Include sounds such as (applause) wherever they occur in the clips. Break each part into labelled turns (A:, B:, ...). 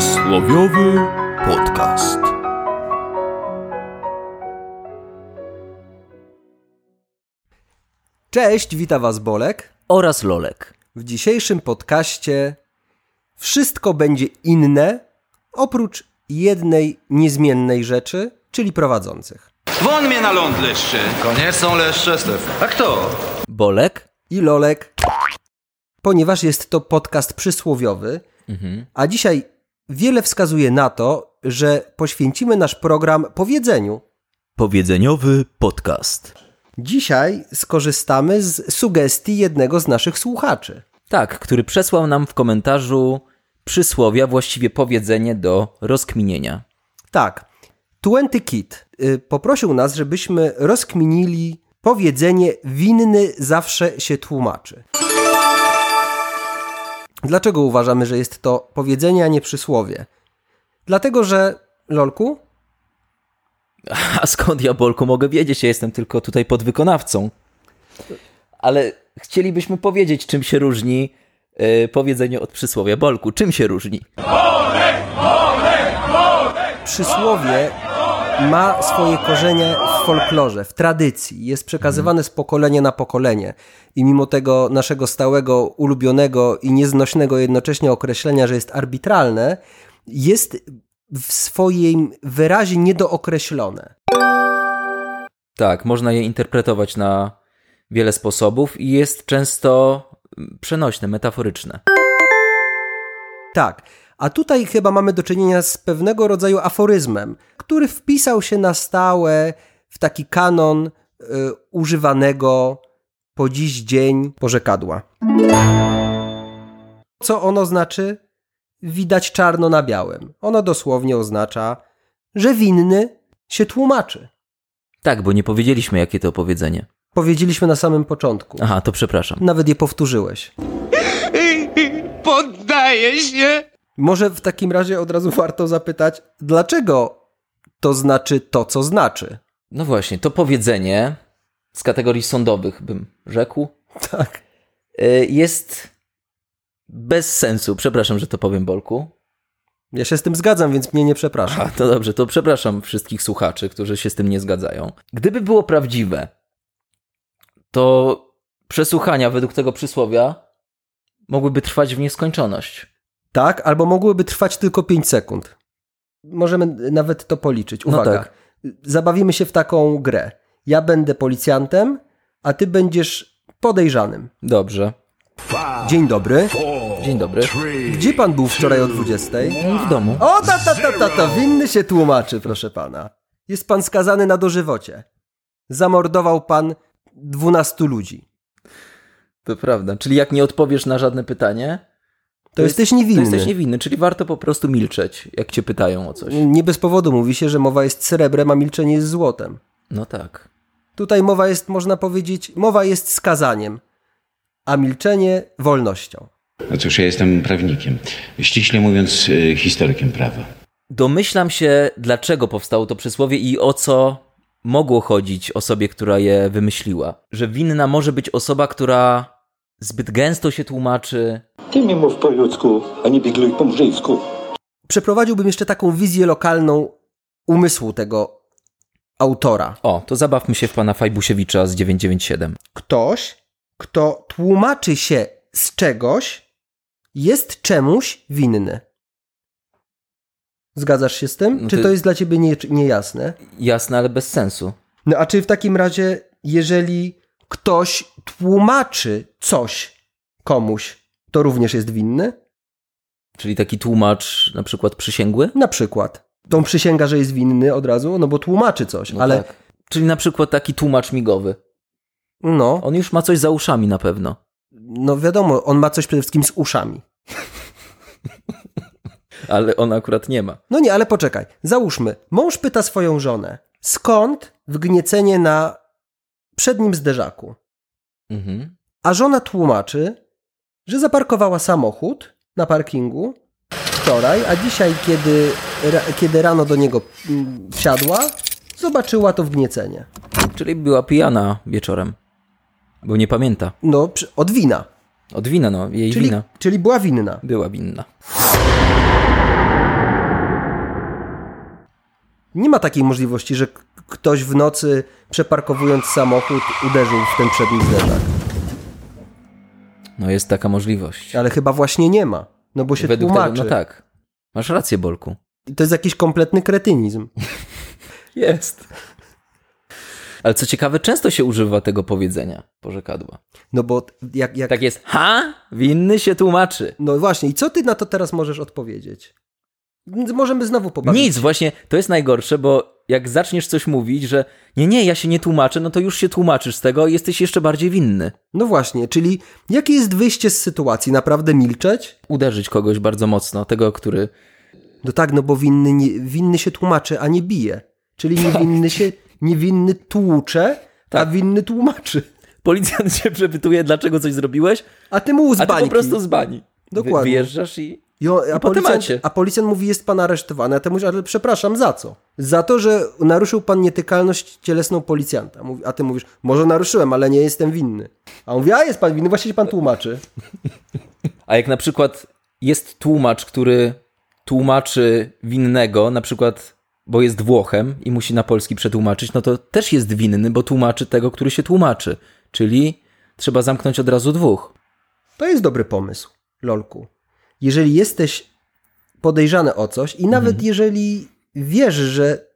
A: Przysłowiowy podcast.
B: Cześć, wita Was Bolek.
C: oraz Lolek.
B: W dzisiejszym podcaście wszystko będzie inne oprócz jednej niezmiennej rzeczy, czyli prowadzących.
D: Won mnie na ląd leszcze.
E: To nie są leszcze, Stef.
D: A kto?
C: Bolek?
B: I Lolek, ponieważ jest to podcast przysłowiowy,
C: Mhm.
B: a dzisiaj wiele wskazuje na to, że poświęcimy nasz program powiedzeniu.
C: Powiedzeniowy podcast.
B: Dzisiaj skorzystamy z sugestii jednego z naszych słuchaczy.
C: Tak, który przesłał nam w komentarzu przysłowia, właściwie powiedzenie do rozkminienia.
B: Tak. Twenty Kid y, poprosił nas, żebyśmy rozkminili powiedzenie winny zawsze się tłumaczy. Dlaczego uważamy, że jest to powiedzenie, a nie przysłowie? Dlatego, że Lolku,
C: A skąd ja, Bolku, mogę wiedzieć? Ja jestem tylko tutaj podwykonawcą. Ale chcielibyśmy powiedzieć, czym się różni e, powiedzenie od przysłowia. Bolku, czym się różni?
B: przysłowie ma swoje korzenie w folklorze, w tradycji. Jest przekazywane z pokolenia na pokolenie. I mimo tego naszego stałego, ulubionego i nieznośnego jednocześnie określenia, że jest arbitralne, jest w swoim wyrazie niedookreślone.
C: Tak, można je interpretować na wiele sposobów i jest często mm, przenośne, metaforyczne.
B: Tak. A tutaj chyba mamy do czynienia z pewnego rodzaju aforyzmem, który wpisał się na stałe w taki kanon y, używanego po dziś dzień porzekadła. Co ono znaczy? Widać czarno na białym. Ono dosłownie oznacza, że winny się tłumaczy.
C: Tak, bo nie powiedzieliśmy, jakie to powiedzenie.
B: Powiedzieliśmy na samym początku.
C: Aha, to przepraszam.
B: Nawet je powtórzyłeś.
D: Poddaję się.
B: Może w takim razie od razu warto zapytać, dlaczego to znaczy to, co znaczy?
C: No właśnie, to powiedzenie z kategorii sądowych bym rzekł,
B: Tak.
C: y, jest bez sensu. Przepraszam, że to powiem Bolku.
B: Ja się z tym zgadzam, więc mnie nie przepraszam.
C: A to dobrze, to przepraszam wszystkich słuchaczy, którzy się z tym nie zgadzają. Gdyby było prawdziwe, to przesłuchania według tego przysłowia mogłyby trwać w nieskończoność.
B: Tak, albo mogłyby trwać tylko 5 sekund. Możemy nawet to policzyć.
C: No
B: Uwaga.
C: tak.
B: Zabawimy się w taką grę. Ja będę policjantem, a ty będziesz podejrzanym.
C: Dobrze.
B: Dzień dobry.
C: Dzień dobry.
B: Gdzie pan był wczoraj o 20?
C: W domu.
B: O, ta, ta, ta, ta, ta, winny się tłumaczy, proszę pana. Jest pan skazany na dożywocie. Zamordował pan 12 ludzi.
C: To prawda. Czyli jak nie odpowiesz na żadne pytanie,
B: To
C: jest-
B: jesteś niewinny.
C: to jesteś niewinny, czyli warto po prostu milczeć, jak cię pytają o coś.
B: Nie bez powodu mówi się, że mowa jest srebrem, a milczenie jest złotem.
C: No tak.
B: Tutaj mowa jest, można powiedzieć, mowa jest skazaniem, a milczenie wolnością.
F: No cóż, ja jestem prawnikiem. Ściśle mówiąc, y, historykiem prawa.
C: Domyślam się, dlaczego powstało to przysłowie i o co mogło chodzić osobie, która je wymyśliła. Że winna może być osoba, która zbyt gęsto się tłumaczy.
G: Ty mi mów po ludzku, a nie bigluj po mrzyjsku.
B: Przeprowadziłbym jeszcze taką wizję lokalną umysłu tego autora.
C: O, to zabawmy się w pana Fajbusiewicza z 997.
B: Ktoś, kto tłumaczy się z czegoś, jest czemuś winny. Zgadzasz się z tym?
C: No
B: Czy
C: ty-
B: to jest dla ciebie nie, niejasne?
C: Jasne, ale bez sensu.
B: No a czy w takim razie, jeżeli ktoś tłumaczy coś komuś, to również jest winny?
C: Czyli taki tłumacz, na przykład przysięgły?
B: Na przykład. Tą przysięga, że jest winny od razu, no bo tłumaczy coś,
C: No
B: ale
C: tak. Czyli na przykład taki tłumacz migowy.
B: no,
C: On już ma coś za uszami na pewno.
B: no wiadomo, on ma coś przede wszystkim z uszami.
C: Ale on akurat nie ma.
B: No nie, ale poczekaj. Załóżmy, mąż pyta swoją żonę, skąd wgniecenie na przednim zderzaku?
C: Mhm.
B: A żona tłumaczy, że zaparkowała samochód na parkingu wczoraj, a dzisiaj, kiedy, ra, kiedy rano do niego mm, wsiadła, zobaczyła to wgniecenie.
C: Czyli była pijana wieczorem. Bo nie pamięta.
B: No, przy- od wina.
C: Od wina, no. Jej
B: Czyli,
C: wina.
B: czyli była winna.
C: Była winna.
B: Nie ma takiej możliwości, że k- ktoś w nocy, przeparkowując samochód, uderzył w ten przedni zderzak.
C: No jest taka możliwość.
B: Ale chyba właśnie nie ma, no bo się tłumaczy.
C: no tak. Masz rację, Bolku.
B: I To jest jakiś kompletny kretynizm.
C: Jest. Ale co ciekawe, często się używa tego powiedzenia, porzekadła.
B: No bo t- jak... jak...
C: Tak jest, ha? Winny się tłumaczy.
B: No właśnie, i co ty na to teraz możesz odpowiedzieć? N- Możemy znowu pobawić.
C: Nic, właśnie to jest najgorsze, bo jak zaczniesz coś mówić, że nie, nie, ja się nie tłumaczę, no to już się tłumaczysz z tego i jesteś jeszcze bardziej winny.
B: No właśnie, czyli jakie jest wyjście z sytuacji? Naprawdę milczeć?
C: Uderzyć kogoś bardzo mocno, tego, który.
B: No tak, no bo winny, nie, winny się tłumaczy, a nie bije.
C: (laughs)
B: Czyli niewinny się, niewinny tłucze, a
C: Tak.
B: winny tłumaczy.
C: Policjant (laughs) się przepytuje, dlaczego coś zrobiłeś,
B: A ty mu
C: a ty
B: uzbańki.
C: po prostu z bani.
B: Dokładnie.
C: Wy, wyjeżdżasz i.
B: I on, a,
C: po
B: policjant,
C: temacie.
B: a policjant mówi, jest pan aresztowany, a ty mówisz, ale przepraszam, za co? Za to, że naruszył pan nietykalność cielesną policjanta. Mówi, a ty mówisz, może naruszyłem, ale nie jestem winny. A on mówi, a jest pan winny, właśnie się pan tłumaczy.
C: A jak na przykład jest tłumacz, który tłumaczy winnego, na przykład, bo jest Włochem i musi na polski przetłumaczyć, no to też jest winny, bo tłumaczy tego, który się tłumaczy. Czyli trzeba zamknąć od razu dwóch.
B: To jest dobry pomysł, lolku. Jeżeli jesteś podejrzany o coś i nawet jeżeli wiesz, że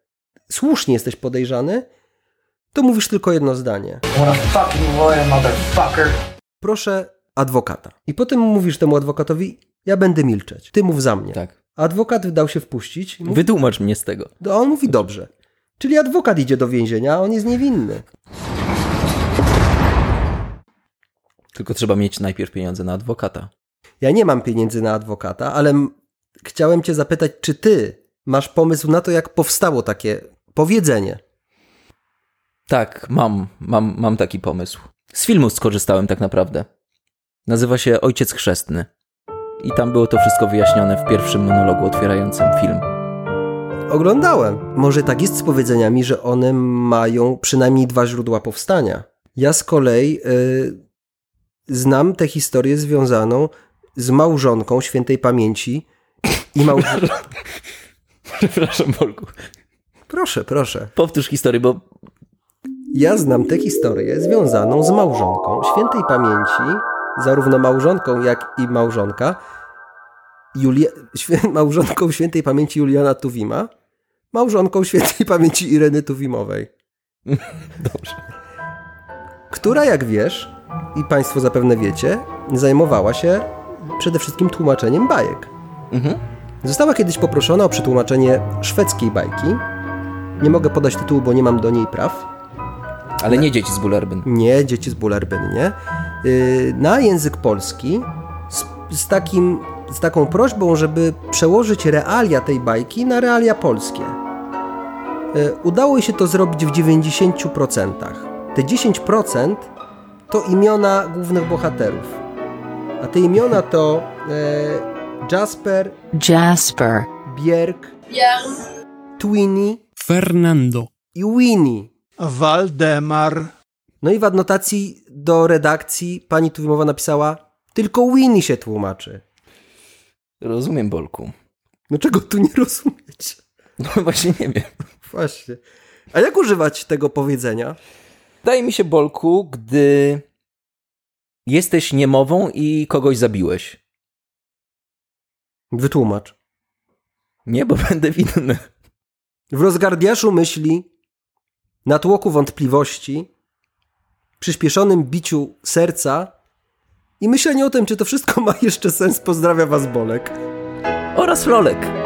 B: słusznie jesteś podejrzany, to mówisz tylko jedno zdanie. Proszę adwokata. I potem mówisz temu adwokatowi, ja będę milczeć, ty mów za mnie.
C: Tak.
B: Adwokat dał się wpuścić, i mówi,
C: Wytłumacz mnie z tego.
B: a on mówi dobrze. Czyli adwokat idzie do więzienia, a on jest niewinny.
C: Tylko trzeba mieć najpierw pieniądze na adwokata.
B: Ja nie mam pieniędzy na adwokata, ale m- chciałem Cię zapytać, czy Ty masz pomysł na to, jak powstało takie powiedzenie?
C: Tak, mam, mam, mam taki pomysł. Z filmu skorzystałem tak naprawdę. Nazywa się Ojciec Chrzestny. I tam było to wszystko wyjaśnione w pierwszym monologu otwierającym film. (laughs)
B: Oglądałem. Może tak jest z powiedzeniami, że one mają przynajmniej dwa źródła powstania. Ja z kolei y, znam tę historię związaną z małżonką świętej pamięci i małżonką.
C: Przepraszam, Bolku.
B: Proszę, proszę.
C: Powtórz historię, bo
B: Ja znam tę historię związaną z małżonką świętej pamięci, zarówno małżonką, jak i małżonka, Julia, świę, (laughs) małżonką świętej pamięci Juliana Tuwima, małżonką świętej pamięci Ireny Tuwimowej.
C: Dobrze.
B: Która, jak wiesz, i Państwo zapewne wiecie, zajmowała się przede wszystkim tłumaczeniem bajek. Została kiedyś poproszona o przetłumaczenie szwedzkiej bajki. Nie mogę podać tytułu, bo nie mam do niej praw.
C: Ale nie dzieci z Bullerbyn.
B: Nie, dzieci z Bullerbyn, nie. Yy, na język polski z, z, takim, z taką prośbą, żeby przełożyć realia tej bajki na realia polskie. Yy, udało jej się to zrobić w 90%. Te 10% to imiona głównych bohaterów. A te imiona to yy, Jasper,
H: Jasper,
B: Bjerg, Twini
I: Fernando,
B: i Winnie.
J: Waldemar.
B: No i w adnotacji do redakcji pani Tuwimowa napisała tylko Winnie się tłumaczy.
C: Rozumiem, Bolku. (laughs)
B: No czego tu nie rozumieć? (laughs)
C: No właśnie nie wiem.
B: Właśnie. A jak używać tego powiedzenia?
C: Daje mi się, Bolku, gdy jesteś niemową i kogoś zabiłeś.
B: Wytłumacz.
C: Nie, bo (laughs) będę winny.
B: W rozgardiaszu myśli, na tłoku wątpliwości, przyspieszonym biciu serca (laughs) i myślenie o tym, czy to wszystko ma jeszcze sens, pozdrawia was Bolek.
C: Oraz Lolek.